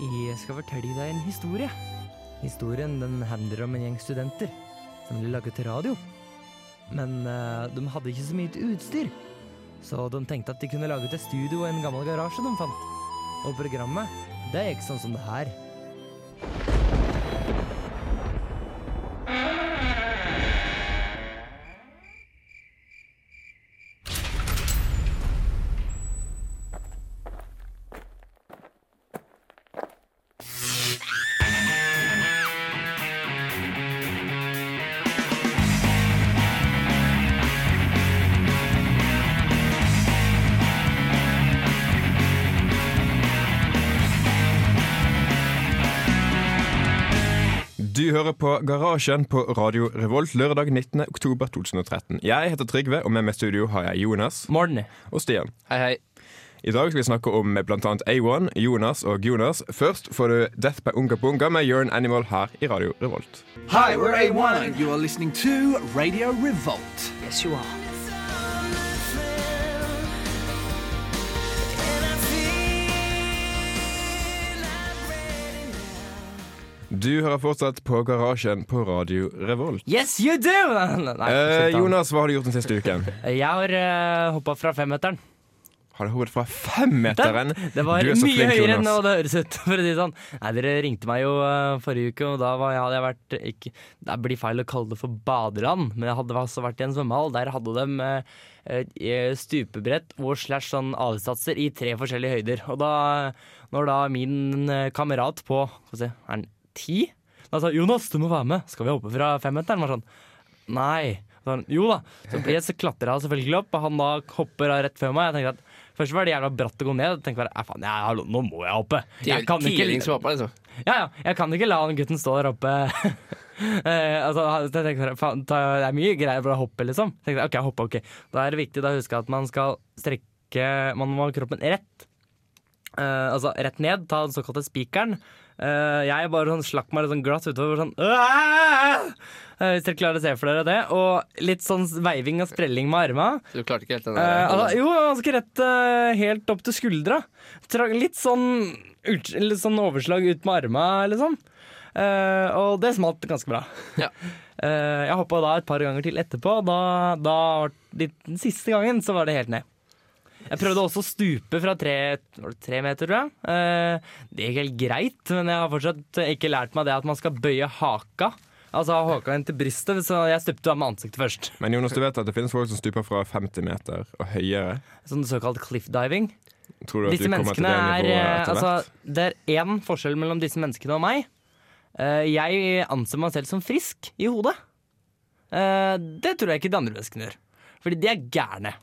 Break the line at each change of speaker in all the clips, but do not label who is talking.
Jeg skal fortelle deg en historie. Historien den handler om en gjeng studenter som ville lage til radio. Men eh, de hadde ikke så mye til utstyr, så de tenkte at de kunne lage til studio og en gammel garasje de fant. Og programmet, det gikk sånn som det her.
Du hører på Garasjen på Radio Revolt lørdag 19. oktober 2013. Jeg heter Trygve, og med meg i studio har jeg Jonas
Morten.
og Stian.
Hei, hei.
I dag skal vi snakke om bl.a. A1, Jonas og Jonas. Først får du Death by Unga Bunga med Jørn Animal her i Radio Revolt.
Hi, we're A1, and you are listening to Radio Revolt.
Yes, you are.
Du hører fortsatt på Garasjen på Radio Revolt.
Yes, you do! Nei,
Eh,
slutt da.
Jonas, hva har du gjort den siste uken?
Jeg har uh, hoppa fra femmeteren.
Har du hoppet fra femmeteren?
Det var
Du
mye
er så flink,
høyere enn
Jonas.
det høres ut. For å si det sånn. Nei, Dere ringte meg jo eh, forrige uke, og da var, jeg- hadde jeg vært ikke, Det blir feil å kalle det for badeland, men jeg hadde altså vært i en svømmehall. Der hadde de eh, eh, stupebrett og slash sånn avsatser i tre forskjellige høyder. Og da, når da min eh, kamerat på Få se, er han ti? Da sa Jonas, du må være med. Skal vi hoppe fra femmeteren? Var sånn Nei. Så han, jo da. Så blir jeg så klatrer jeg selvfølgelig opp, og han da hopper av rett før meg. Jeg tenkte at Først var det jævla bratt å gå ned. Jeg tenkte bare, «Æ, faen, ja, hallo, nå må jeg hoppe. Jeg kan,
Tidlig
ikke,
som pappa, liksom.
ja, ja, jeg kan ikke la han gutten stå der oppe. Eh, altså, jeg tenkte bare, faen, ta, det er mye greier for å hoppe, liksom. Jeg tenkte, ok, jeg hopper, ok. Da er det viktig da å huske at man skal strekke Man må ha kroppen rett. Eh, altså rett ned, ta den såkalte spikeren. Eh, jeg bare sånn slakk meg litt sånn glass utover sånn «Åh!» Eh, Hvis dere klarer å se for dere det. Og litt sånn veiving og sprelling med armene.
Så du klarte ikke helt den
Eh,
der.
altså, jo, ganske rett eh, helt opp til skuldra. Tra litt, sånn, ut, litt sånn overslag ut med armene, liksom. Eh, og det smalt ganske bra.
Ja.
Eh, jeg hoppa da et par ganger til etterpå. og Da, da var det, Den siste gangen så var det helt ned. Jeg prøvde også å stupe fra tre, var det tre meter, tror jeg. Eh, det gikk helt greit, men jeg har fortsatt ikke lært meg det at man skal bøye haka. Altså ha haka inn til brystet, så jeg stupte da med ansiktet først.
Men Jonas, du vet at det finnes folk som stuper fra 50 meter og høyere.
Sånn såkalt cliff diving.
Tror du at
Disse
du kommer til
menneskene
det
er
nivået
eh,
etter
altså,
hvert?
Det er én forskjell mellom disse menneskene og meg. Eh, Jeg anser meg selv som frisk i hodet. Eh, Det tror jeg ikke de andre menneskene gjør. Fordi de er gærne.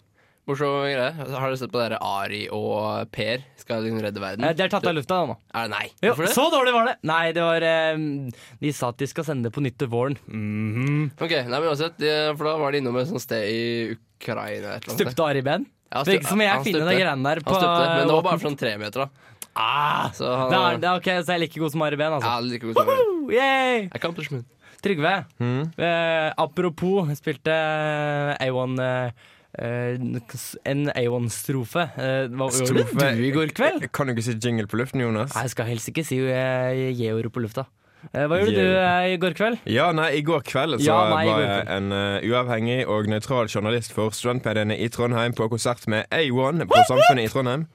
Morsom greie. Altså, Har dere sett på dere Ari og Per skal liksom redde verden?
Eh, Det er tatt av lufta nå.
Er det nei?
Jo,
Hvorfor det?
så dårlig var det! Nei, det var eh, De sa at de skal sende det på nytt til våren.
Mm. Ok, nei, men uansett, eh, for da var de innom et sånt sted i Ukraina et eller annet. sted.
Stupte Ari Ben?
Ja,
Det virker som jeg
han
finner
stupte.
de greiene der på
Han stupte, men det var bare fra en tremeter, da.
ah,
Så han
det er, det er, ok, så jeg er like god som Ari Ben,
Ja,
altså.
like god som
Woo, yay!
Accomplishment.
Trygve,
Mm.
eh, apropos, jeg spilte A1 eh, eh, en A1-strofe. Eh, hva hva gjorde
Strofe-
du i går kveld?
Kan du ikke si jingle på luften, Jonas?
Nei, jeg skal helst ikke si eh, Jeoro på lufta. Eh, hva gjorde du
Jeoro.
eh, i går kveld?
Ja, nei, I går kveld så
Ja, nei, i
var
går
jeg en eh, uavhengig og nøytral journalist for studentmediene i Trondheim på konsert med A1 på Samfunnet i Trondheim.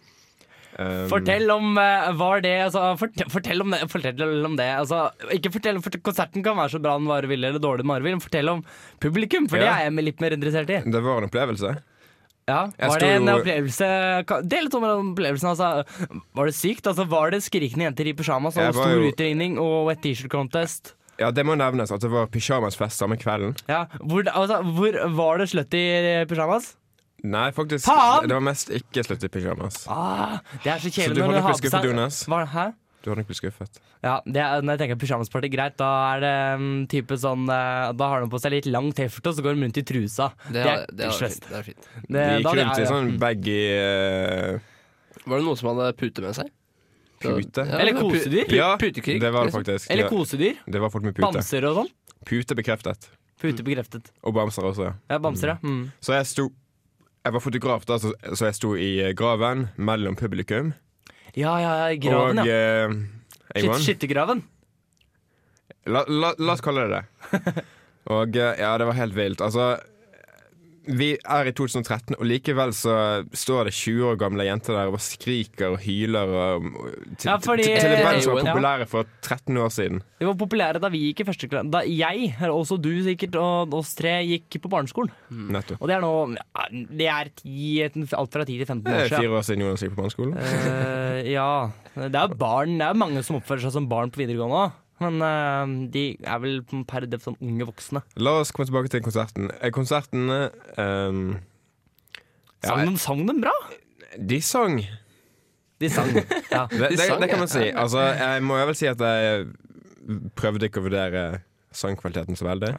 Um,
Fortell om eh, var det, altså, fortell, fortell om det, fortell om det. Altså, ikke fortell, for Konserten kan være så bra den bare vil, eller dårlig den bare vil. men Fortell om publikum, for det
Ja.
er jeg litt mer interessert i.
Det var en opplevelse.
Ja,
Jeg
Var det en
sto jo-
opplevelse ka- Del litt om den opplevelsen. Altså. Var det sykt? Altså, var det skrikende jenter i pysjamas og
Jeg var
stor
jo-
utringning og wet t-shirt contest?
Ja, Det må nevnes at det var pyjamasfest samme kvelden.
Ja, hvor, altså, hvor var det slutt i pysjamas?
Nei, faktisk.
Faen!
Det var mest ikke slutt i pyjamas.
Ah, det er så
Så
kjedelig
du
når
holder
har
ikke
på
skuffet,
seg-
Jonas?
Hva- Hæ?
Du hadde nok blitt skuffet.
Ja, det er, når jeg tenker pysjamasparty, greit, da er det mm, type sånn eh, Da har de på seg litt lang T-skjorte, og så går de rundt i trusa. er
Det, er- det, er
pysjfest.
fint, det er fint.
De
Det-
gikk
da hadde
rundt
jeg-
i
ja.
sånn baggy eh,
Var det noen som hadde pute med seg?
Pute?
Ja,
Eller
pu-
kosedyr?
pu-
Ja,
Putekrig?
det var det
liksom.
faktisk.
Eller
Ja,
kosedyr.
det var folk med pute.
Bamser og sånn.
Pute bekreftet.
Pute bekreftet.
Og bamser også, ja.
Ja, bamser, ja. Mm.
Så jeg sto Jeg var fotograf da, så, så jeg sto i eh, graven mellom publikum.
Ja, ja, ja, i graven,
og
ja.
eh, A1.
Skyt- Skyttergraven.
La, la, la oss kalle det det. Og eh, ja, det var helt vilt. Altså vi er i 2013, og likevel så står det 20 år gamle jenter der og bare skriker og hyler. Og, til,
Ja, fordi- eh,
til, til en band som var
Ja.
populære for 13 år siden.
De var populære da vi gikk i første klasse. Da jeg, eller også du sikkert, og oss tre gikk på barneskolen.
Nettopp.
Og det er nå ja, Det er ti, alt fra 10 til 15
Det
år
er
siden.
fire år siden Jonas gikk på barneskolen.
Eh, ja. Det er jo barn Det er jo mange som oppfører seg som barn på videregående òg. Men eh, de er vel per def sånn unge voksne.
La oss komme tilbake til konserten. Eh, Konserten ehm, ja,
Sang de, sang de bra?
De sang.
De sang. Ja.
Det, det,
sang,
det kan
ja.
man si. Altså, jeg må jo vel si at jeg prøvde ikke å vurdere sangkvaliteten så veldig.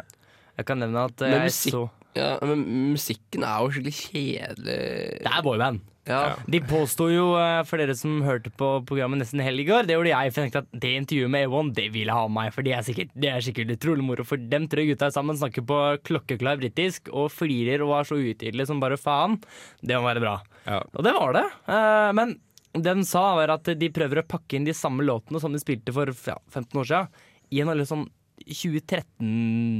Jeg kan nevne at eh,
Men
jeg
musikk-
så
Ja, men musikken er jo skikkelig kjedelig.
Det er boyband.
Ja.
De påsto jo, eh, for dere som hørte på programmet Nesten helg i går, det gjorde jeg, for jeg tenkte at det intervjuet med A1, det vil jeg ha med meg, for det er sikkert, det er sikkert utrolig moro. For dem tre gutta sammen snakker på klokkeklar britisk og flirer og er så utydelige som bare faen. Det må være bra.
Ja.
Og det var det. Eh, Men det de sa, var at de prøver å pakke inn de samme låtene som de spilte for ja, 15 år siden, i en veldig sånn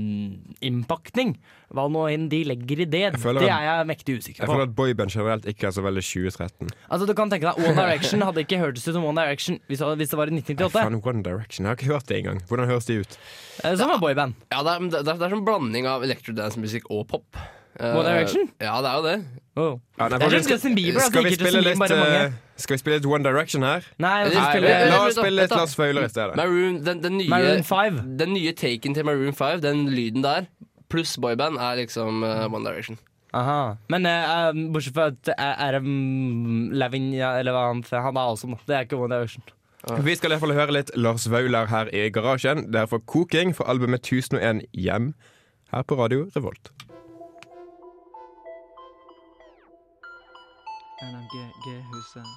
2013-innpakning. Hva nå enn de legger i det,
føler
det
at-
er jeg mektig usikker
Jeg
på.
føler at boyband generelt ikke er så veldig 2013.
Altså du kan tenke deg One Direction hadde ikke hørtes ut som One Direction hvis hvis det var i 1998.
Faen, One Direction. Jeg har ikke hørt det engang. Hvordan høres de ut?
Eh, Som var boyband.
Ja, det er, men det er, det er sånn blanding av electrodance-musikk og pop. Eh,
One Direction?
Ja, det er jo det.
Oh.
Ja, nei,
Det er
folkens,
sånn Justin Bieber. Altså,
skal, vi
ikke
spille
Justin
litt,
Bieber, bare mange.
eh, skal vi spille litt One Direction her? eh,
Nei, vi
Nei,
spiller
La
vent
oss
da,
spille litt
vent da.
Lars Vaular i stedet.
Maroon, den, den nye
Maroon 5.
Den nye taken til Maroon 5, den lyden der, pluss boyband, er liksom eh, One Direction.
Aha. Men eh, um, bortsett fra at eh, RM Levin, ja, eller hva han Han er awesome. da. Det er ikke One Direction.
Vi skal i hvert fall høre litt Lars Vaular her i garasjen. Det er for Koking fra albumet 1001 Hjem her på Radio Revolt.
NMG-huset.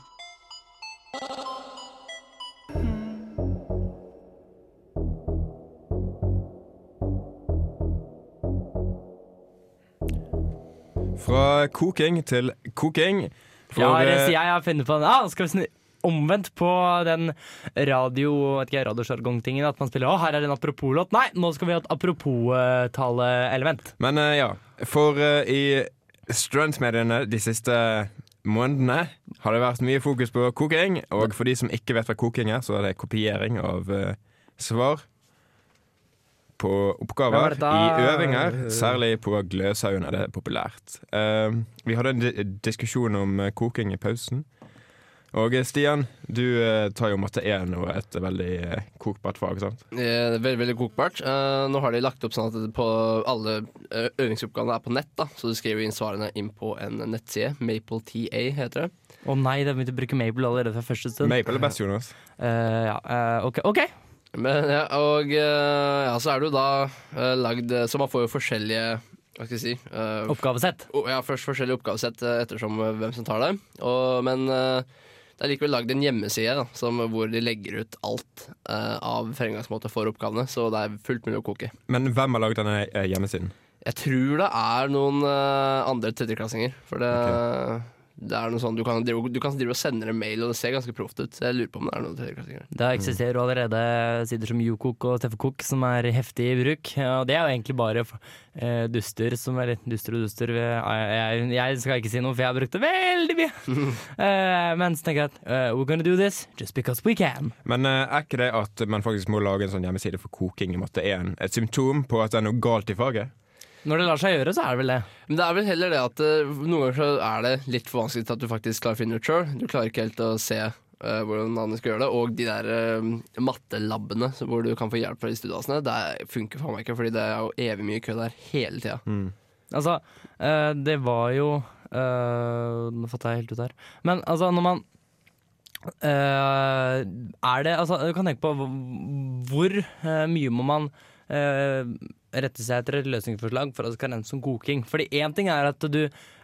Fra koking til koking. For,
Ja,
eh,
jeg, jeg har funnet på den. Ah, skal vi snu omvendt på den radio vet ikke, radiosjargongtingen at man spiller Å, her er en apropos-låt. Nei, nå skal vi ha et apropos-taleelement.
Men eh, ja, for eh, i stuntmediene de siste månedene har det vært mye fokus på koking. Og for de som ikke vet hva koking er, så er det kopiering av eh, svar på
Hva var
oppgaver
dette?
i øvinger. Særlig på Gløshaugen er det populært. Eh, vi hadde en di diskusjon om eh, koking i pausen. Og eh, Stian, du eh, tar jo matte 1 og et veldig eh, kokbart fag, sant?
Eh, veldig veldig kokbart. Eh, nå har de lagt opp sånn at det på alle eh, øvingsoppgavene er på nett, da. så du skriver inn svarene inn på en nettside. MapleTA heter det.
Å nei, de begynte å bruke Mabel allerede fra første stund.
Maple er best, Jonas.
Eh, ja, eh, ok. ok.
Men, ja, og eh, ja, så er det jo da eh, lagd eh, Så man får jo forskjellige Hva skal jeg si eh,
Oppgavesett.
o- ja, først forskjellige oppgavesett eh, ettersom eh, hvem som tar det. Og, men eh, det er likevel lagd en hjemmeside da, som, hvor de legger ut alt eh, av fremgangsmåte for oppgavene, så det er fullt mulig å koke.
Men hvem har lagd denne eh, hjemmesiden?
Jeg tror det er noen eh, andre tredjeklassinger. For det, det er noe sånn, du kan, drive, du kan drive og sende en mail, og det ser ganske proft ut. Så jeg lurer på om det er noen tredjeklassinger.
Det eksisterer jo allerede sider som YouKook og Teffekok som er heftig i bruk. Og det er jo egentlig bare eh, duster som er duster og duster. Jeg, jeg, jeg skal ikke si noe, for jeg har brukt det veldig mye. Eh, men så tenker jeg at eh, we're gonna do this just because we can.
Men eh, er ikke det at man faktisk må lage en sånn hjemmeside for koking i matte 1 et symptom på at det er noe galt i faget?
Når det lar seg gjøre, så er det vel det.
Men det er vel heller det at eh, noen ganger så er det litt for vanskelig til at du faktisk klarer å finne ut sjøl. Du klarer ikke helt å se eh, hvordan andre skal gjøre det. Og de der eh, mattelabbene så- hvor du kan få hjelp fra de studieplassene, det funker faen meg ikke, fordi det er jo evig mye kø der hele tida.
Mm.
Altså, eh, det var jo eh, Nå fatta jeg helt ut her. Men altså, når man eh, Er det Altså, du kan tenke på hv- hvor eh, mye må man eh, rette seg etter et løsningsforslag for at det skal regnes som koking. Fordi én ting er at du,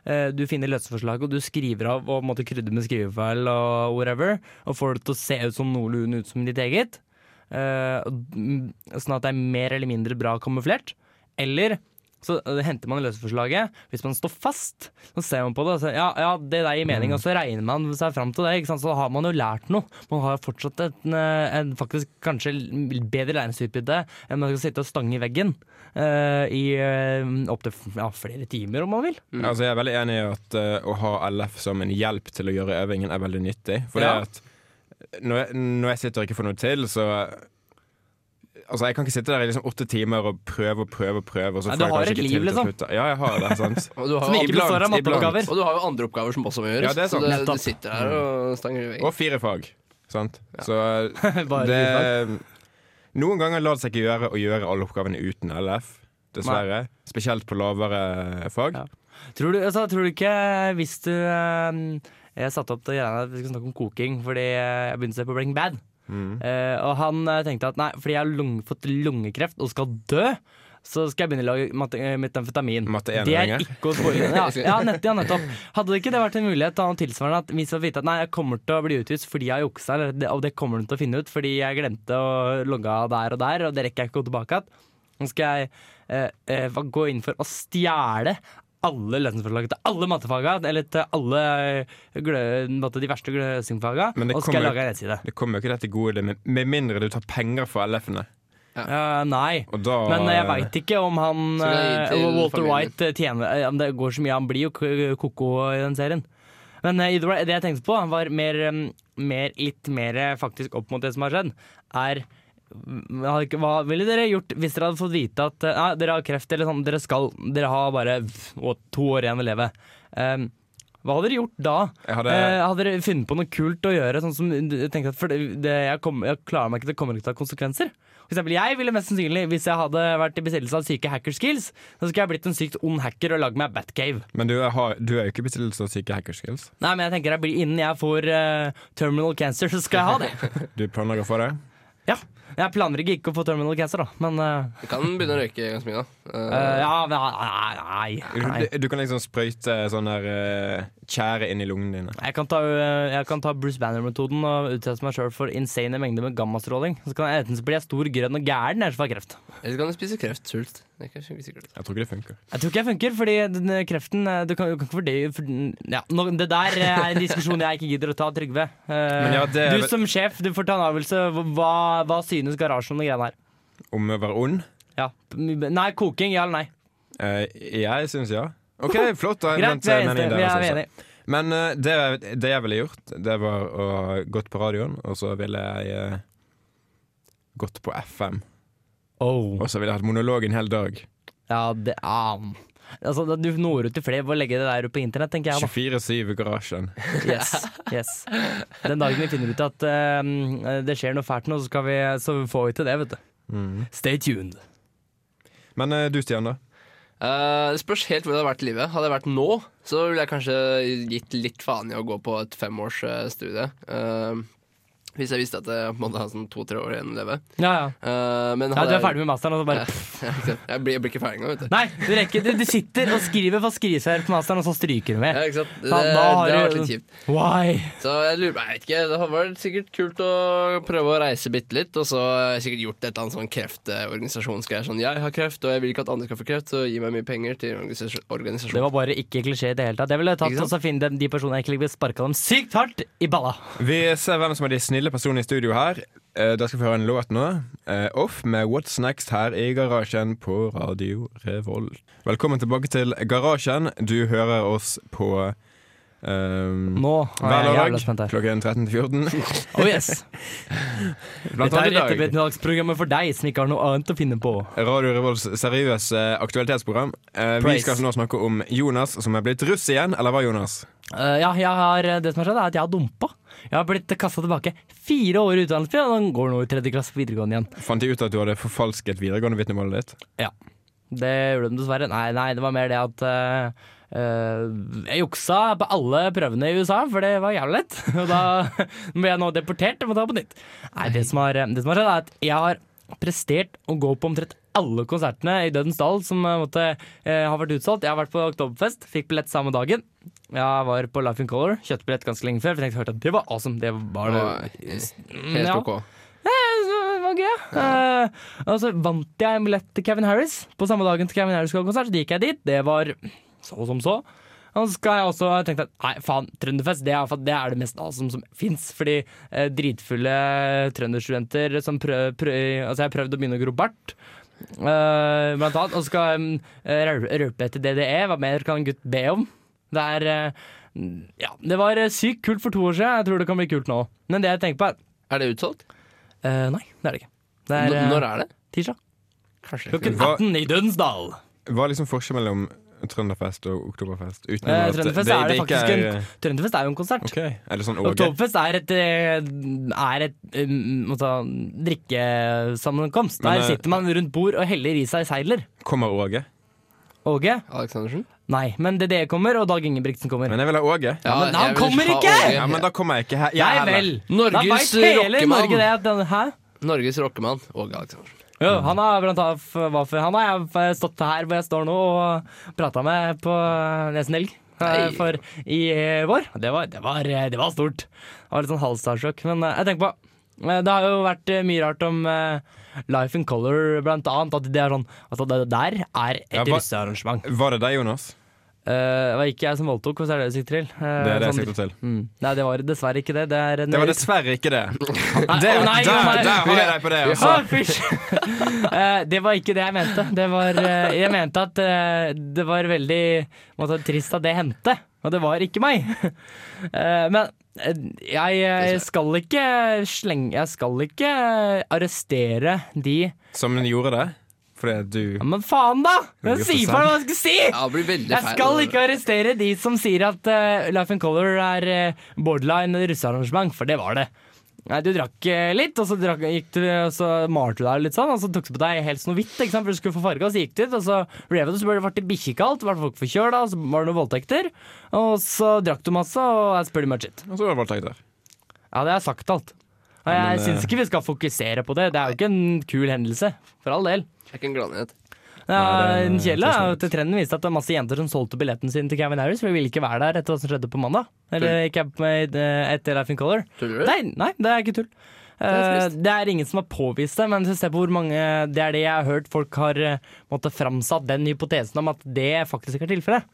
eh, du finner løsningsforslaget, og du skriver av og måtte krydre med skrivefeil og whatever, og får det til å se ut som noenlunde ut som ditt eget. eh, og- mm, sånn at det er mer eller mindre bra kamuflert. Eller Så eh, henter man løseforslaget. Hvis man står fast, så ser man på det og sier ja, ja, det der gir mening, og så regner man seg fram til det. Ikke sant? Så har man jo lært noe. Man har fortsatt et, en, eh, en faktisk kanskje l- bedre læringsutbytte enn man skal sitte og stange i veggen eh, i opptil ja, flere timer, om man vil.
Altså, jeg er veldig enig i at eh, å ha LF som en hjelp til å gjøre øvingen er veldig nyttig. For
Ja.
det er at når jeg, når jeg sitter og ikke får noe til, så Altså, Jeg kan ikke sitte der i liksom åtte timer og prøve og prøve og prøve. Og så
Nei,
får
du
jeg
har
kanskje
et
ikke
liv,
til til
liksom.
slutt. Ja, jeg har det. sant?
Og du, har
Som
jo
ikke
andre,
består av
iblant,
matteoppgaver.
og du har jo andre oppgaver som også må gjøres.
Ja, det er sant.
Så det,
Nettopp.
du sitter her og stanger i veggen.
Og fire fag. sant? Så eh,
Bare
det
fire
Noen ganger lar det seg ikke gjøre å gjøre alle oppgavene uten LF, dessverre. Spesielt på lavere eh, fag.
Ja. Tror du, altså, tror du ikke hvis du eh, Jeg satte opp til greiene at vi skulle snakke om koking fordi eh, jeg begynte å se på Bring Bad. Eh, og han eh, tenkte at nei, fordi jeg har lung, fått lungekreft og skal dø, så skal jeg begynne å lage mat- eh, metamfetamin.
Matte
det er
enelenger.
ikke å spoile. Ja, ja, nett, ja, nettopp. Hadde det ikke det vært en mulighet til å ha noe tilsvarende at vi skal vite at nei, jeg kommer til å bli utvist fordi jeg har juksa, eller det- og det kommer de til å finne ut fordi jeg glemte å logge av der og der, og det rekker jeg ikke å gå tilbake igjen. Nå skal jeg eh, eh, hva- gå inn for å stjele alle løsningsforslagene til alle mattefaga, eller til alle eh, glø, måtte, de verste gløsingfaga,
Men det
og så skal jeg
kommer-
lage en nettside.
Det kommer jo ikke dette gode det med, med mindre du tar penger fra LF-ene.
Eh, nei.
Og da eh,
Men eh, jeg veit ikke om han
Så det er
eh,
til
Walter
familien.
White eh, tjener eh, Om det går så mye. Han blir jo k- ko-ko i den serien. Men eh, either way, det jeg tenkte på, var mer, eh, mer, litt mer eh, faktisk opp mot det som har skjedd, er mm, hadde ikke- hva ville dere gjort hvis dere hadde fått vite at eh, nei, dere har kreft eller sånn, dere skal Dere har bare pff, å, to år igjen å leve. Eh, hva hadde dere gjort da?
Jeg hadde-
Eh, hadde dere funnet på noe kult å gjøre? Sånn som jeg tenkte at for det, det, jeg, kom, jeg klarer meg ikke, det kommer ikke til å ha konsekvenser. For eksempel, jeg ville mest sannsynlig, hvis jeg hadde vært i besittelse av syke hackerskills, så skulle jeg blitt en sykt ond hacker og lagd meg Batcave.
Men du, eh, har, du er jo ikke bestilt så syke hackerskills.
Nei, men jeg tenker jeg blir, innen jeg får eh, terminal cancer, så skal jeg ha det.
Du planlegger for det?
Ja. Jeg planlegger ikke å få terminal cancer, da, men eh,
Du kan begynne å røyke ganske mye, da. Eh,
eh, Ja, men nei,
Du,
nei, nei.
du kan liksom sprøyte sånn der eh, tjære inn i lungene dine.
Jeg kan ta, eh, jeg kan ta Bruce Banner-metoden og utsette meg sjøl for insane mengder med gammastråling. Så kan jeg enten så blir jeg stor, grønn og gæren, eller så får jeg kreft.
Eller så kan du spise kreftsvulst. Det er kanskje ikke sikkert.
Jeg tror ikke det funker.
Jeg tror ikke jeg funker, fordi den eh, kreften eh, Du kan jo ikke fordøye for, ja, nå, Det der eh, er en diskusjon jeg ikke gidder å ta, Trygve. Eh,
ja, det er
du
vel-
som sjef, du får ta en avgjørelse. Hva, hva synes garasjen om de greiene her?
Om å være ond?
Ja. Nei, koking, ja eller nei?
Eh, jeg syns ja. OK, flott. Da.
Greit,
Vent,
vi er
meningen
enige.
der,
Vi
altså.
er enige.
Men eh, det, det jeg ville gjort, det var å gått på radioen, og så ville jeg eh, gått på FM.
Oh.
Og så ville jeg hatt monolog en hel dag.
Ja, det ah. Altså, da- Du når ut til flere ved å legge det der ut på internett, tenker jeg. da
24-7 i garasjen.
Yes, yes Den dagen vi finner ut at eh, det skjer noe fælt nå, så, skal vi, så får vi til det, vet du.
Mm.
Stay tuned.
Men eh, du, Stian, da?
Eh, det spørs helt hvor det hadde vært i livet. Hadde jeg vært nå, så ville jeg kanskje gitt litt faen i å gå på et femårsstudie. eh, hvis jeg visste at jeg måtte ha sånn to-tre år igjen å leve.
Ja, ja.
Eh, men
ja
hadde
du er ferdig med masteren, og så bare
jeg, Ja, ikke sant. jeg, blir, jeg blir ikke ferdig engang, vet du.
Nei, du rekker Du, du sitter og skriver for skriveserv på masteren, og så stryker du med.
Ja, ikke sant? Det,
Da-
det,
da har
har vært
du-
litt kjipt.
Why?
Så jeg lurer Nei, jeg vet ikke. Det hadde vært sikkert kult å prøve å reise bitte litt, og så har jeg sikkert gjort et eller annet sånn kreftorganisasjonsgreier. Sånn, jeg har kreft, og jeg vil ikke at andre skal få kreft, så gi meg mye penger til organisas-
Det
organisasjonen.
var bare ikke klisjé i det hele tatt. Jeg ville tatt
Ikke
og
sant?
så finne dem, de personene jeg ikke liker, sparka dem sykt hardt i balla.
Vi ser hvem som er de snille personene i studio her. Eh, da skal vi høre en låt nå. Eh, off med What's Next her i garasjen på Radio Revolt. Velkommen tilbake til Garasjen. Du hører oss på eh,
Nå er
hver
jeg jævla
lørdag
spent her.
klokken 13 til 14.
Oh yes.
Blant
Dette er
annet i dag.
ettermiddagsprogrammet for deg som ikke har noe annet å finne på.
Radio Revolts seriøse aktualitetsprogram. Eh, vi
Praise.
skal nå snakke om Jonas som er blitt russ igjen, eller hva, Jonas?
Eh, ja, jeg har, det som har skjedd, er at jeg har dumpa. Jeg har blitt kasta tilbake fire år i utdannelse, og den går nå i tredje klasse på videregående igjen.
Fant de ut at du hadde forfalsket videregående vitnemålet ditt?
Ja. Det gjorde de dessverre. Nei, nei, det var mer det at eh, eh, jeg juksa på alle prøvene i USA, for det var jævlig lett. Og da ble jeg nå deportert og må ta på nytt. Nei, det som har, det som har skjedd, er at jeg har prestert å gå på omtrent alle konsertene i Dødens Dal som eh, måtte, eh, har vært utsolgt. Jeg har vært på Oktoberfest, fikk billett samme dagen. Jeg var på Life in Color, kjøpte billett ganske lenge før, for jeg tenkte hørte at det var awesome. Det var
Nei,
det.
Helt
Mm, Ja.
ok.
Det var G. Eh, og så vant jeg en billett til Kevin Harris. På samme dagen til Kevin Harris skulle ha konsert, så gikk jeg dit. Det var så som så. Og så skal jeg også tenke at nei, faen, Trønderfest det er, for- det er det mest awesome som fins. Fordi eh, dritfulle trønderstudenter som prøv, prøv, Altså, jeg har prøvd å begynne å gro bart. eh, blant annet. Og så skal um, raupe raupe etter DDE. Hva mer kan en gutt be om? Det er eh, Ja, det var eh, sykt kult for to år siden. Jeg tror det kan bli kult nå. Men det jeg tenker på, er
Er det utsolgt?
Eh, nei, det er det ikke. Det er
N-
eh,
Når er det?
tirsdag.
Kanskje
Klokken
Hva-
18 i Dønsdal.
Hva er liksom forskjellen mellom Trønderfest og Oktoberfest? Uten
Eh,
at
Trønderfest er det
ikke
faktisk
er- eh,
Trønderfest er jo en konsert.
Ok, Er det sånn Åge?
Oktoberfest er et, eh, er et um, må ta, drikkesammenkomst.
Men,
Der
eh,
sitter man rundt bord og heller i seg seiler.
Kommer Åge?
Åge?
Aleksandersen?
Nei, men DDE kommer, og Dag Ingebrigtsen kommer.
Men jeg vil ha Åge.
Ja, men han
jeg vil
kommer
ha
ikke!
Åge.
Ja, men da kommer jeg ikke her. Jeg
Nei vel!
heller.
da
Norges
veit hele
rockemann.
Norge det. At den, hæ?
Norges rockemann Åge Aleksandersen.
Jo, han har blant annet f- hva for, Han har jeg f- stått her hvor jeg står nå og prata med på Nesen Elg. eh,
Nei.
For i eh, vår. Det var, det var, eh, det var stort. Det var litt sånn halv starstruck. Men eh, jeg tenker på eh, Det har jo vært eh, mye rart om eh, Life in Color, blant annet. At det er sånn at det der er et
Ja, hva-
russearrangement.
Var det deg, Jonas?
Eh, det var ikke jeg som voldtok, hvis det er det du sikter til. Eh,
Det er det jeg
sånn-
sikter til.
Mm. Nei, det var dessverre ikke det. Det, er en,
Det var dessverre ikke det.
Nei,
Der,
å nei, å
der,
nei.
der har jeg deg på det. Altså.
Ah, fysj. Eh, det var ikke det jeg mente. Det var, eh, jeg mente at eh, det var veldig måtte, trist at det hendte, og det var ikke meg. Eh, men eh, jeg, jeg skal ikke slenge Jeg skal ikke arrestere de ja,
Som hun gjorde det. Fordi du
Men faen, da! Men
Veldig
si fra hva jeg skal si!
Ja, det blir veldig
Jeg
feil.
skal ikke arrestere de som sier at eh, Life in Color er eh, borderline russearrangement, for det var det. Nei, Du drakk eh, litt, og så, drakk, gikk du, og så malte du deg litt sånn, og så tok du på deg helt sånn hvitt ikke sant, for du skulle få farga, og så gikk du ut, og så rev du, så ble det ble bikkjekaldt, ble folk forkjøla, og så var det noen voldtekter, og så drakk du masse, og that's pretty much it.
Og så var det voldtekter.
Ja, det har jeg sagt alt. Og
Ja,
jeg
men, eh,
syns ikke vi skal fokusere på det, det er jo ikke en kul hendelse, for all del.
Det er ikke en gladnyhet.
Ja,
Nei, det er en,
den kjedelig
trist
er jo
nyhet.
at trenden viste at det var masse jenter som solgte billetten sin til Kevin Harris, for de ville ikke være der etter hva som skjedde på mandag. Eller ikke med, eh, etter Life in Color.
Tuller du?
Nei, nei, det er ikke tull. Eh,
trist.
Det er ingen som har påvist det, men hvis du ser på hvor mange Det er det jeg har hørt folk har eh, måtte framsatt den hypotesen om at det faktisk ikke er tilfellet.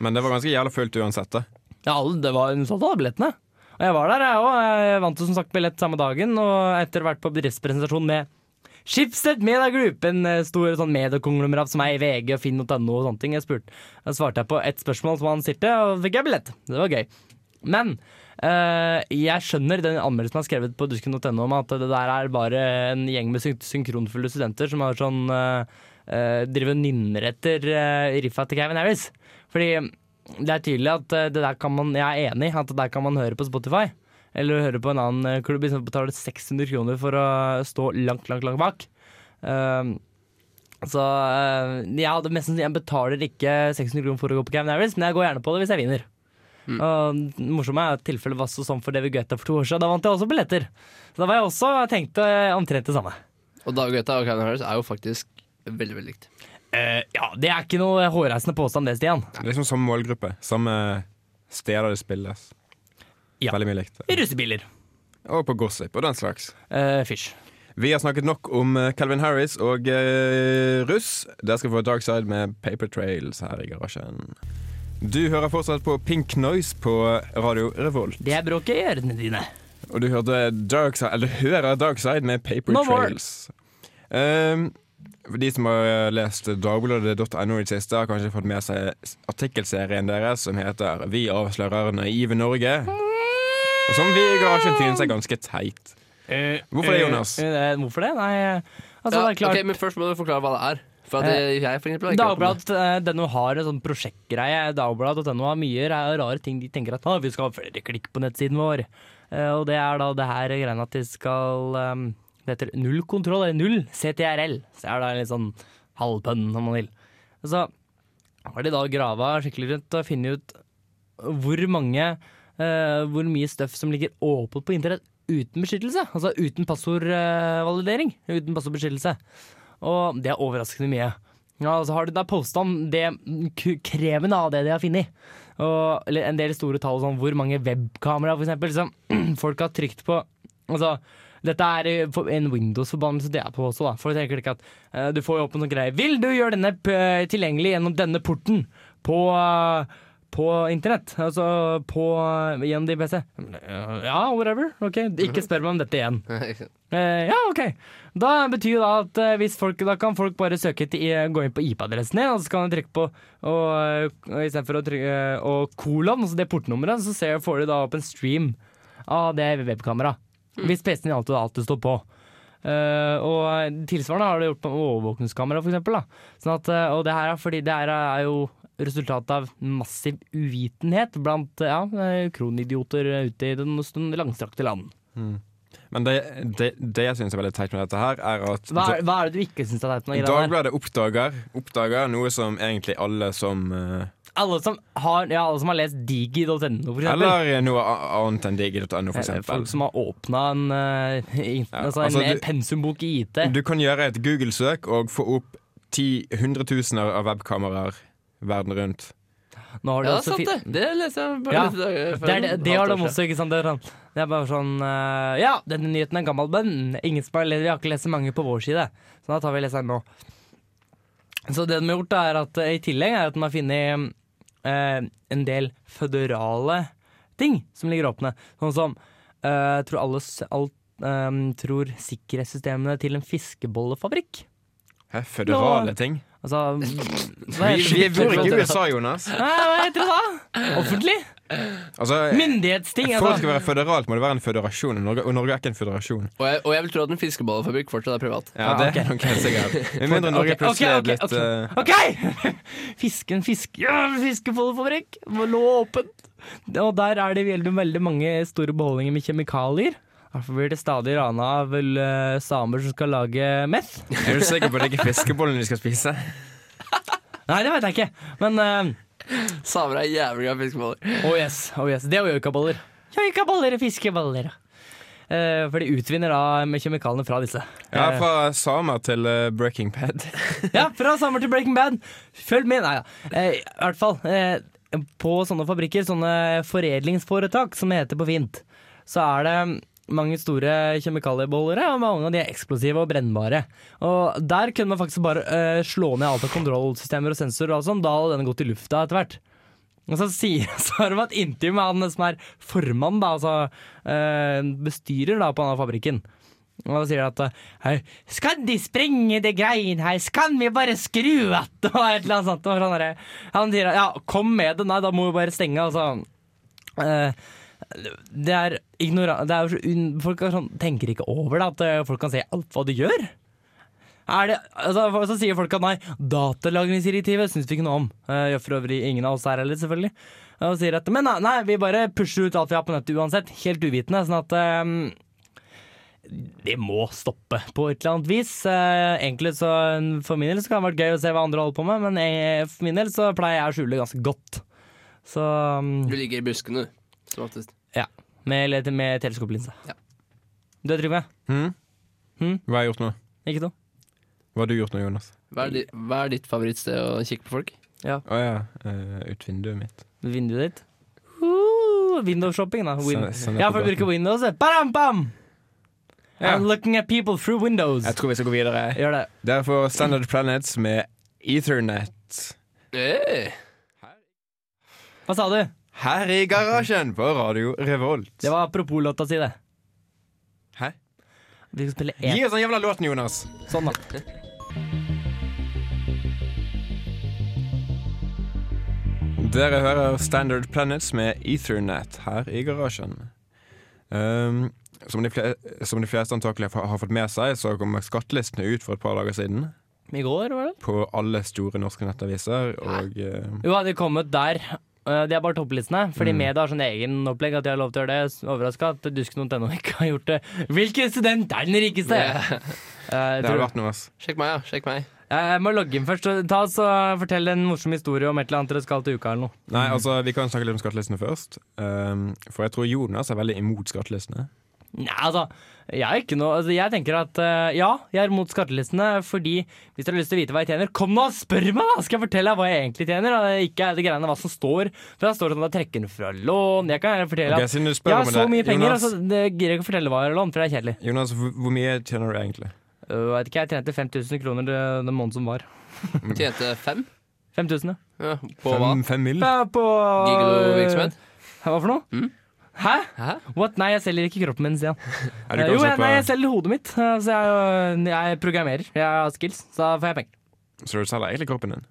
Men det var ganske jævla fullt uansett. da.
Ja, alle, det var hun solgte alle billettene. Og jeg var der, jeg òg. Jeg vant jo som sagt billett samme dagen, og etter hvert på bedriftspresentasjon med Schibsted Media Group, en eh, stor sånn mediekonglomerat som er i VG og Finn.no og sånne ting. Jeg spurte, da svarte jeg på ett spørsmål som han stilte, og fikk jeg billett. Det var gøy. Men eh, jeg skjønner den anmeldelsen jeg har skrevet på dusken.no om at det der er bare en gjeng med syn synkronfulle studenter som har sånn eh, eh, driver og nynner etter eh, riffa til Kevin Harris. Fordi det er tydelig at eh, det der kan man, jeg er enig i at det der kan man høre på Spotify. Eller høre på en annen eh, klubb som betaler 600 kroner for å eh, stå langt, langt, langt bak. Ehm, så eh, jeg, hadde mest, jeg betaler ikke 600 kroner for å gå på Cam Harris, men jeg går gjerne på det hvis jeg vinner. Og det morsomme er at tilfellet var så sånn for David Guetta for to år siden. Da vant jeg også billetter. Så da var jeg også jeg tenkte eh, omtrent det samme.
Og Dag Guetta og Kevin Harris er jo faktisk veldig veldig likt.
Eh, ja, det er ikke noe hårreisende påstand det, Stian.
Det er liksom samme målgruppe. Samme steder det spilles.
Ja.
Veldig mye likt.
Russebiler.
Og på gossip og den slags.
Uh, Fysj.
Vi har snakket nok om eh, Calvin Harris og eh, russ. Der skal vi få Darkside med Paper Trails her i garasjen. Du hører fortsatt på Pink Noise på Radio Revolt.
Det er bråket i ørene dine.
Og du hørte Darkside, eller hører Darkside med Paper
No more.
Trails. Ehm, for de som har eh, lest dagbladet.no i det siste, har kanskje fått med seg artikkelserien deres som heter 'Vi avslører naive Norge'. Og som vi i garasjen synes er ganske teit. Hvorfor det, Jonas?
Eh, hvorfor det? Nei, altså
Ja,
det er klart Eh,
ok, men først må du forklare hva det er. For at jeg, jeg for eksempel, har ikke hørt om det.
Dagbladet.no har en sånn prosjektgreie. Dagbladet.no har mye ra- rare ting de tenker at «Å, vi skal ha flere klikk på nettsiden vår. Eh, og det er da det her greiene at de skal ehm, Det heter null kontroll, eller null CTRL. Så det er da en litt sånn halvpønn, om man vil. Så har de da grava skikkelig rundt og funnet ut hvor mange eh, Hvor mye støff som ligger åpent på internett uten beskyttelse. Altså uten passordvalidering. uten passordbeskyttelse. Og det er overraskende mye. Ja, og så har de da posta om det k- kremen av det de har funnet. Og eller en del store tall, sånn hvor mange webkamera for eksempel, som folk har trykt på. Altså, Dette er eh, for- en Windows-forbannelse det er på også, da. For jeg tenker ikke at eh, du får jo opp en sånn greie Vil du gjøre denne p- tilgjengelig gjennom denne porten på eh, på internett? Altså på eh, gjennom din PC? Ja, whatever. Ok, ikke spør meg om dette igjen. Eh, ja, ok. Da betyr jo da at eh, hvis folk, da kan folk bare søke til, eh, gå inn på IP-adressen din, og så kan de trykke på og, eh, istedenfor å trykke eh, og kolon, altså det portnummeret, så ser, får de da opp en stream av det webkameraet. Hvis PC-en din alltid, alltid står på. Eh, og tilsvarende har det gjort med overvåkningskamera, for eksempel. Da. Sånn at, eh, og det her er fordi det her er jo resultatet av massiv uvitenhet blant eh, ja, eh, kronidioter ute i den langstrakte land.
Men det, det, det jeg syns er veldig teit med dette her, er at
Hva er, hva er det du ikke syns er teit med greia der?
Dagbladet oppdager, oppdager noe som egentlig alle som eh,
Alle som har, ja, alle som har lest digi.no, for eksempel.
Eller noe a- annet enn digi.no, for
Eh,
eksempel.
Folk som har åpna en, eh, in-
Ja,
altså
altså,
en
du-
pensumbok i IT.
Du kan gjøre et Google-søk og få opp ti- hundretusener av webkameraer verden rundt.
Nå har de
Ja,
også
sant
fi-
det. Det leste jeg bare
Ja,
litt dager før.
Det, er, det, det har de
Halvt år siden.
også, ikke sant? Det er, sånn, det er bare sånn eh, Ja, denne nyheten er gammel, men ingen som har, le- vi har ikke lest så mange på vår side. Så da tar vi leseren nå. Så det de har gjort, er at eh, i tillegg er at de har funnet eh, en del føderale ting som ligger åpne. Sånn som eh, tror, alle, s- alt, eh, tror sikkerhetssystemene til en fiskebollefabrikk.
Hæ, føderale
Nå-
ting?
Altså Hva
Vi, vi bor ikke i
Føderale-
USA, Jonas.
Hæ, Hva heter det da? Offentlig?
Altså,
Myndighetsting?
for det
Altså.
skal være føderalt, må det være en føderasjon. og Norge, og Norge er ikke en føderasjon.
Og jeg, og jeg vil tro at en fiskeballefabrikk fortsatt er privat.
Ja, det er nok helt sikkert. Med mindre Norge
Ok,
plutselig
ok,
er
ok,
blitt
ok.
eh,
OK! Fisken, fiske... Ja, fiskefoldefabrikk lå åpent. Og der er det veldig, veldig mange store beholdninger med kjemikalier. Derfor blir det stadig rana av vel, eh, samer som skal lage meth.
Er du sikker på at det ikke er fiskebollene de skal spise?
Nei, det veit jeg ikke. Men eh,
Samer er jævlig glad i fiskeboller.
Oh yes, oh yes. Det er jo joikaboller. Joikaboller og fiskeboller. Eh, for de utvinner da med kjemikaliene fra disse.
Ja,
Eh,
fra samer til eh, Breaking Bad.
ja, fra sommer til Breaking Bad. Følg med. Nei da. Eh, I hvert fall. Eh, på sånne fabrikker, sånne foredlingsforetak som det heter på fint, så er det mange store kjemikaliebollere, og mange av de er eksplosive og brennbare. Og der kunne man faktisk bare eh, slå ned alt av kontrollsystemer og sensorer og alt sånt, da hadde den gått i lufta etter hvert. Og så, sier, så har det vært intervju med han som er formann, da, altså eh, bestyrer da på denne fabrikken. Og da sier de at hei, skal de sprenge det greien her, skal vi bare skru att? Og et eller annet sånt. Og sånn derre- han sier ja, kom med det, nei, da må vi bare stenge, altså. Eh, det er ignorant det er jo så un Folk er sånn, tenker ikke over det, at eh, folk kan se alt hva de gjør. Er det, altså, for- så sier folk at nei, datalagringsdirektivet syns vi ikke noe om. Eh, Gjør for øvrig ingen av oss her heller, selvfølgelig. Og sier at men nei, nei, vi bare pusher ut alt vi har på nettet uansett, helt uvitende. Sånn at eh, det må stoppe på et eller annet vis. Eh, egentlig så For min del så kan det ha vært gøy å se hva andre holder på med, men jeg, for min del så pleier jeg å skjule ganske godt. Så mm,
Du ligger i buskene, du. Som oftest.
ja. Med, eller med teleskoplinse.
Ja.
Du er Trygve?
Hm?
Hm?
Hva har jeg gjort nå?
Ikke noe?
Hva har du gjort nå, Jonas?
Hva er, di, hva er ditt favorittsted å kikke på folk?
Å ja, eh, ut vinduet mitt.
Vinduet ditt? Uh, Windows-shopping, da. Win
Sånn- sånn er
ja,
på
for å
gaten.
bruke Windows. Bam, bam!
Ja.
I'm looking at people through windows.
Jeg tror vi skal gå videre.
Gjør det.
Derfor Standard Planets med Ethernet.
Eh.
Hey.
Hva sa du?
Her i garasjen på Radio Revolt.
Det var apropos låta si, det.
Hæ?
Vi skal spille én.
Gi oss den jævla låten, Jonas!
Sånn, da.
Dere hører Standard Planets med Ethernet her i garasjen. Ehm, som, de fle- som de fleste antakelig har har fått med seg, så kom skattelistene ut for et par dager siden.
I går, var det?
På alle store norske nettaviser. Og eh,
Jo, hadde de kommet der. eh, Det er bare topplistene.
Mm.
Fordi media har sånn egen opplegg at de har lov til å gjøre det. Overraska at dusk.no ikke har gjort det. Hvilken student er den rikeste?
Yeah.
Eh, jeg
det
tror-
har vært noe, ass.
Sjekk meg, ja. Sjekk meg.
Eh, Jeg må logge inn først. og Ta oss og Fortell en morsom historie om et eller annet dere skal til uka. eller noe
Nei, altså, vi kan snakke litt om skattelistene først. Ehm, for jeg tror Jonas er veldig imot skattelistene.
Nei, altså, jeg er ikke noe altså, Jeg tenker at eh, ja, jeg er mot skattelistene fordi hvis dere har lyst til å vite hva jeg tjener, kom nå og spør meg, da! Skal jeg fortelle deg hva jeg egentlig tjener? Og ikke det greiene hva som står. For da står det sånn at jeg trekker den fra lån. Jeg kan gjerne fortelle
Ok,
at
siden du
jeg
spør
har
om
så
det,
mye penger,
Jonas,
altså, det gidder jeg ikke å fortelle hva jeg har lånt, for det er kjedelig.
Jonas, hvor hvor mye tjener du egentlig?
Øh, vet ikke, jeg tjente 5000 kroner øh, den måneden som var.
Tjente fem
5000, ja.
ja, på hva?
Fem- Fem mil?
Ja, På
Gigolo-virksomhet?
Hva for noe?
Mm.
Hæ?
Hæ?
What? Nei, jeg selger ikke kroppen min, sier han.
Ja, du
Eh,
kan
Jo,
se
jeg,
på-
nei, jeg selger hodet mitt. eh, Så jeg, øh, jeg programmerer. Jeg har skills, så da får jeg penger.
Så du selger egentlig kroppen din?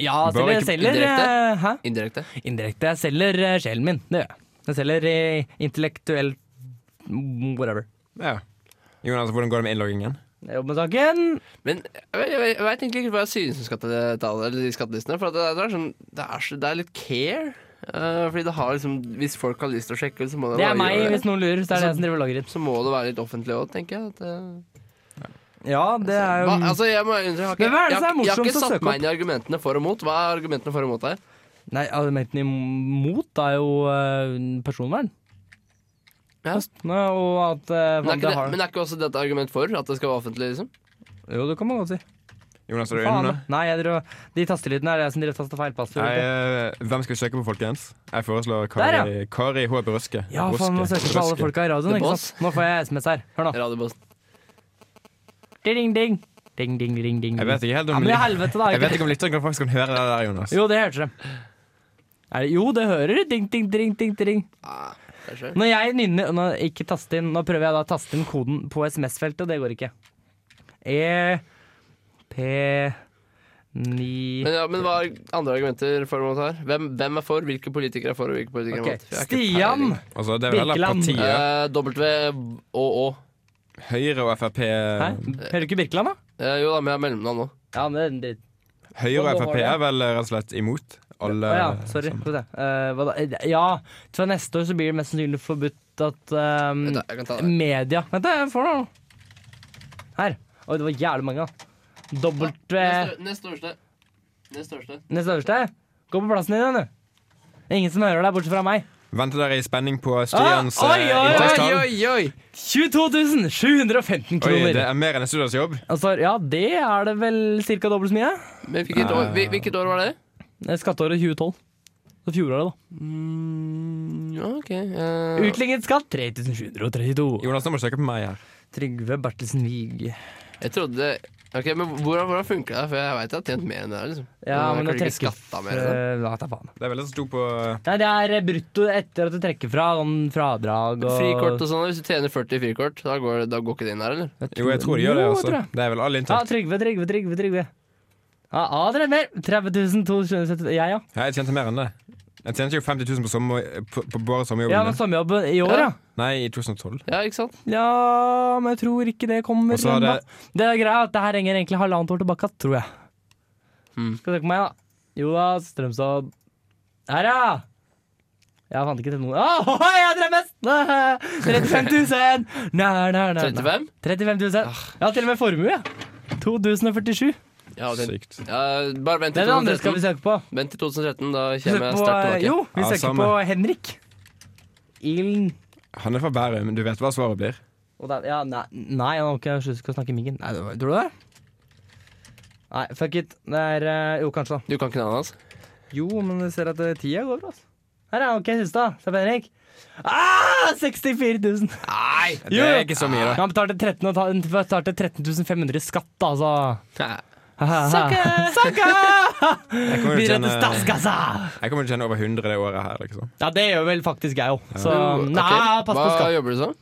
Ja,
Bare
selger,
ikke
selger
indirekte?
eh, Hæ?
Indirekte.
Indirekte. Jeg selger eh, sjelen min. Det gjør jeg. Jeg selger eh, intellektuell whatever.
Ja. Jonas, hvordan går det med innloggingen?
Jeg jobber med saken.
Men jeg, jeg, jeg veit egentlig ikke hva jeg synes om skattetallene, eller de skattelistene. For at det, er- det, er sånn, det, er, så- det er litt care. Eh, fordi det har liksom Hvis folk har lyst til å sjekke, ut, så må det,
Det er
bare
meg,
gjøre det.
hvis noen lurer. Så er
Altså,
det jeg som driver og lager det.
Så må det være litt offentlig òg, tenker jeg. At, eh,
Ja, det er jo
hva, altså, jeg må undre, jeg har ikke,
Men hva er det
jeg,
som
har
er
ikke- jeg har ikke
morsomst å
satt
søke
meg inn i argumentene for og mot. Hva er argumentene for og mot her?
Nei, argumentene imot er jo eh, personvern.
Ja.
Kostene og at eh,
Men er,
faen,
ikke
det
det,
har
men er ikke også dette argument for at det skal være offentlig? liksom?
Jo, det kan man godt si.
Jonas, er du inne
Faen.
nå?
da. Nei, jeg driver, og- de tastelydene er det jeg som driver og taster feil passord.
Nei, eh, hvem skal vi søke på, folkens? Jeg foreslår
Der, ja.
Kari, Kari H. Brøske.
Ja, faen, man søker på alle folka i radioen.
The
Ikke
boss.
sant? Nå får jeg SMS her. Hør nå.
Radiobossen.
Ding, ding, ding, ding, ding, ding.
Jeg vet ikke helt
Ja,
om,
men i
lyt-
helvete, da.
jeg vet ikke om lytteren kan faktisk kan høre det der, Jonas.
Jo, det hørte de. Er det, jo, det hører du. Ding, ding, ding, ding, ding.
Ah, det er skjønt.
Når jeg nynner nå, ikke taste inn, nå prøver jeg da å taste inn koden på SMS-feltet, og det går ikke. E P 9
Men, ja, men hva er andre argumenter for og mot her? Hvem, hvem er for? Hvilke politikere er for, og hvilke politikere
Ok,
er mot? For jeg har ikke
Stian!
peiling.
Altså, det er vel heller
Birkeland.
partiet.
Eh, W og Å.
Høyre og Frp
Hæ? Hører du ikke Birkeland, da?
Eh, jo da, men jeg har mellomnavn nå.
Ja, men det er en dritt.
Høyre og
Hva var
Frp
det?
er vel eh, rett og slett imot alle
Å ja, sorry. Få se. Eh, hva da? Eh, Ja, fra neste år så blir det mest sannsynlig forbudt at
Vent
eh,
da, Jeg kan ta det.
media Vent, da, jeg får noe. Her. Oi, det var jævlig mange, da. Dobbelt eh,
Neste- Nest største. Nest største.
Neste øverste. Gå på plassen din, igjen, du. Ingen som hører deg, bortsett fra meg.
Venter dere i spenning på Stians
Ah,
ah,
oi, oi,
inntektstall?
oi, oi!
22 715
Oi,
kroner.
det er mer enn en students jobb.
Altså, ja, det er det vel ca. dobbelt så mye.
Men hvilket, år, hvil- hvilket år var det?
Eh, Skatteåret 2012. Så fjoråret, da.
ja, ok. eh,
Utlignet skatt 3732.
Jonas, nå må du søke på meg her.
Trygve Bertelsen Wiig.
jeg trodde det Ok, men Hvordan, hvordan funker det? her? For jeg vet jeg har tjent mer enn det her. liksom
Ja,
Jeg
men det
kanskje ikke
trekker
skatta mer liksom. enn det.
Eh, Ja, ta faen.
Det er vel det som sto på
Nei, det er eh, brutto etter at du trekker fra sånn fradrag og
Frikort og sånn, hvis du tjener 40 i frikort, da går, da går ikke det inn der, eller?
Jo, jeg tror de gjør det,
Jo, jeg
altså.
tror det.
Det er vel all
Ja,
inntekt.
Trygve, Trygve, Trygve. Trygve. Ja, Adrian mer. 30 270 Jeg, ja.
Ja, jeg tjente mer enn det. Jeg tjente jo 50 000 på, sommer, på, på bare
Ja, men
sommerjobben min.
sommerjobb i år, ja.
Nei, i 2012.
Ja, ikke sant?
Ja, men jeg tror ikke det kommer.
Og så har det-
ennå. Det er greia at det her henger egentlig halvannet år tilbake, tror jeg.
Mm.
Skal du se på meg, da. Jonas Strømstad. Her, ja! Jeg fant ikke til noe Åh, jeg drev mest! 35 000! Nei, nei, nei, nei.
35?
35 000. Jeg har til og med formue. jeg. 2047.
Ja, og tjent-
Sykt.
ja, bare vent
Det
til
er det andre skal vi
2013.
søke på.
Vent til 2013, da
Vi
kommer
søker
jeg
på
sterkt tilbake.
jo, vi
Ja,
søker
samme.
på Henrik. Ilden
Han er fra Bærum. Du vet hva svaret blir.
Og da, ja, nei, nei, han har ikke sluttet å snakke i miggen. Nei, det var, tror du det? Nei, fuck it. Det er eh, Jo, kanskje, da.
Du kan ikke navnet hans?
Jo, men jeg ser at eh, tida går bra. altså. Her er OK, siste. da. Se på Henrik. Ah, 64 000!
Nei!
Det er ikke så mye, da.
Han betalte 13, og ta- han betalte 13 500 i skatt, da, altså. Sakka!
Jeg kommer jo
Videre til
til å tjene,
statskassa!
jeg kommer til å tjene over 100 det året her, liksom.
Ja, det gjør vel faktisk jeg òg. Så
Mm, Ok,
nei, pass på
Hva
skatt.
jobber du som?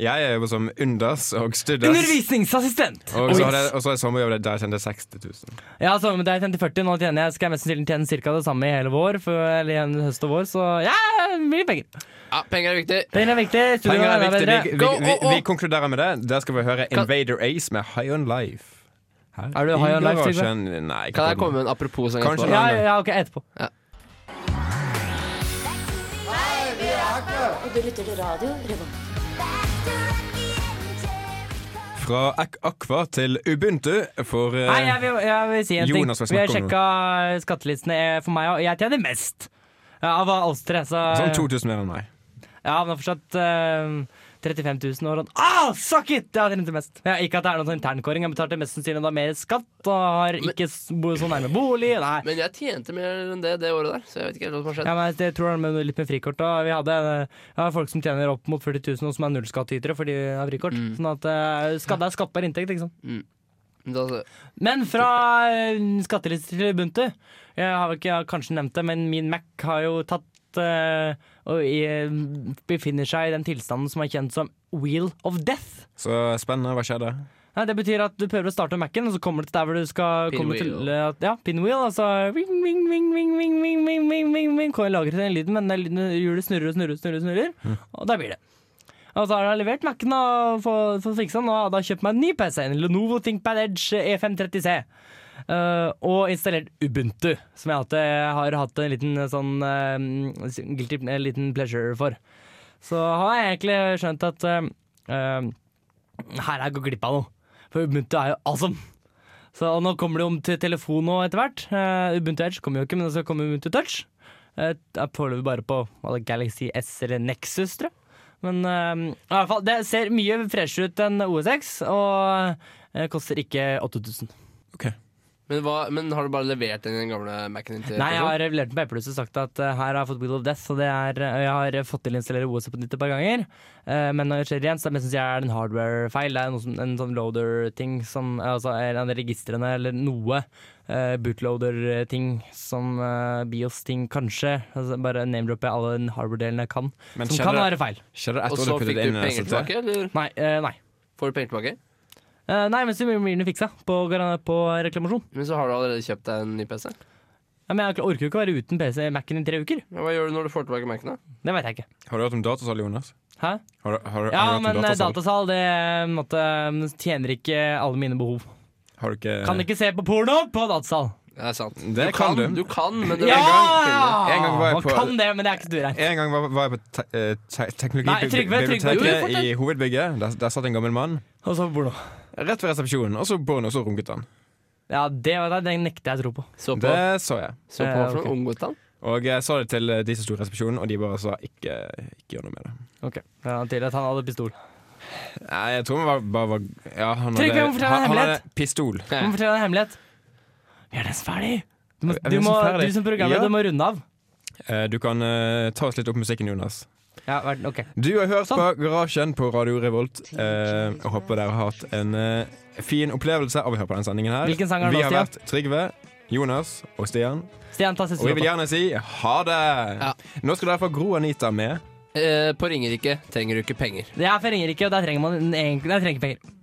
Jeg jobber som unders og studers.
Undervisningsassistent!
Og så
Oh,
har
yes.
jeg, og så har jeg sommerjobb der jeg tjente 60 000.
Ja, så med deg tjente 40, nå tjener jeg, skal jeg mest sannsynlig tjene cirka det samme i hele vår, for, eller i en høst og vår, så ja, mye penger.
Ja, penger er viktig.
Penger er viktig,
Penger
studioet
er
er
viktig. Vi,
bedre.
vi,
Go,
vi,
oh, oh.
vi konkluderer med det. Der skal vi høre
Kan-
Invader Ace med High On Life. Her
Er du
i
high on life, Trygve?
garasjen. Nei, ikke
Kan
på
jeg
den.
komme med en apropos? en gang
Kanskje
etterpå?
Ja, ja, ok, etterpå.
Og du lytter til radio Revolt.
Fra Ak Aqua til Ubuntu for eh,
Nei, jeg vil, jeg vil si en ting.
Jonas vil
Vi har
snakke om
sjekka skattelistene eh, for meg, og jeg tjener mest. Ja, av oss tre, så
sånn 2000 mer enn meg.
Ja, men det er fortsatt eh, 35 000 år. Og, ah, suck it! Jeg har tjent det mest. Ja, ikke at det er noen sånn internkåring. Jeg betalte mest sannsynlig da mer skatt og har ikke s- bo så nærme bolig. Nei.
Men jeg tjente mer enn det det året der, så jeg vet ikke helt hva som har skjedd.
Ja, men jeg tror det er med- litt med frikort. Da. Vi hadde eh, ja, folk som tjener opp mot 40 000 og som er nullskattytere fordi de har frikort. Sånn at eh, skatt det er skattbar inntekt, ikke sant.
Men altså- Da,
Men fra eh, skatteliste til Ubuntu. Jeg har vel ikke jeg har kanskje nevnt det, men min Mac har jo tatt eh, og i, befinner seg i den tilstanden som er kjent som wheel of death.
Så spennende. Hva skjedde?
Nei, det betyr at du prøver å starte Mac-en, og så kommer du til der hvor du skal komme
Pinwheel.
til eh, at- Ja, pinwheel. Altså wing, wing, wing, wing, wing, wing, wing, wing, wing, wing. Kommer lager til den lyden, men den lyden hjulet snurrer og snurrer, og snurrer, og snurrer. Og der blir det. Og så har jeg levert Mac-en og fått fått fiksa den, og hadde kjøpt meg en ny PC. En Lenovo ThinkPad Edge E E530C. Eh, og installert Ubuntu, som jeg alltid har hatt en liten sånn eh, guilty, en liten pleasure for. Så har jeg egentlig skjønt at eh, eh, her er jeg gått glipp av noe. For Ubuntu er jo awesome. Så og nå kommer det jo om til telefon nå etter hvert. Eh, Ubuntu Edge kommer jo ikke, men det skal komme Ubuntu Touch. Eh, Det er foreløpig bare på hva er det, Galaxy S eller Nexus, tror jeg. Men eh, i hvert fall, det ser mye freshere ut enn OSX, og eh, koster ikke 8000.
men, hva, men har du bare levert den i den gamle Mac-en din til
Nei, jeg
personen?
har levert den på Apple og sagt at eh, her har jeg fått Wheel of Death, og det er, eh, jeg har fått til å installere OS på nytt et par ganger. Eh, men når det skjer igjen, så er det mest sannsynlig er det en hardware-feil. Det er noe som, en sånn loader-ting, som, eh, altså eller en registrene eller noe. eh, Bootloader-ting som eh, BIOS-ting, kanskje. Altså, bare name-dropper alle den hardware-delen jeg kan.
Men
som
skjedde,
kan være feil.
skjedde det
Og
etter at
så
du
fikk
puttet
du
inn
penger
SSD?
tilbake, eller?
Nei. eh, nei.
Får du penger tilbake?
Eh, nei, men så blir den fiksa på, gar- på reklamasjon.
Men så har du allerede kjøpt deg en ny PC.
Ja, men jeg orker jo ikke å være uten PC Mac-en i tre uker.
Ja, hva gjør du når du får tilbake Mac-en, da?
Det veit jeg ikke.
Har du hørt om datasalg, Jonas?
Hæ?
Har du, har, du- har du
Ja,
hørt om
men eh,
datasalg?
datasal det eh, måtte, eh, tjener ikke alle mine behov.
Har du ikke
Kan ikke se på porno på datasal.
Det er sant.
Det kan du.
Du kan, men det
Ja!
En gang var jeg
Man
på-
kan det, men det er ikke stuereint.
En gang var, var jeg på te eh, te
Nei, Trygve, Trygve,
jo,
teknologibiblioteket
fortell.
i hovedbygget. Der, der satt en gammel mann.
Og så porno.
Rett ved resepsjonen. Og så porno, og så runket han.
Ja, det, det, det nekter jeg å tro på.
Så på,
Det så jeg.
så på
Eh,
for
ok.
noen unngått han.
Og jeg sa det til eh, de som sto i resepsjonen, og de bare sa ikke, ikke gjør noe med det.
Ok, ja, Til at han hadde pistol.
Nei, jeg tror han var, bare var ja, han hadde,
Trygve, jeg må fortelle
han,
en
han
hemmelighet.
hadde pistol.
Du må fortelle deg en hemmelighet. Vi er nesten ferdig. Du, må,
Er vi
du,
nesten
må,
ferdig?
du som programleder
Ja.
du må runde av.
Eh, du kan eh, ta oss litt opp musikken, Jonas.
Ja, vær- ok.
Du har hørt på Garasjen på Radio Revolt. Eh, og håper dere har hatt en eh, fin opplevelse av å høre på denne sendingen her.
Hvilken sang er det
Vi
nå,
har vært Trygve, Jonas og Stian.
Stian, ta siste
Og vi vil
låta.
gjerne si ha det!
Ja.
Nå skal dere få Gro Anita med.
Eh, på Ringerike trenger du ikke penger.
Det er fra Ringerike, og der trenger man egentlig der trenger penger.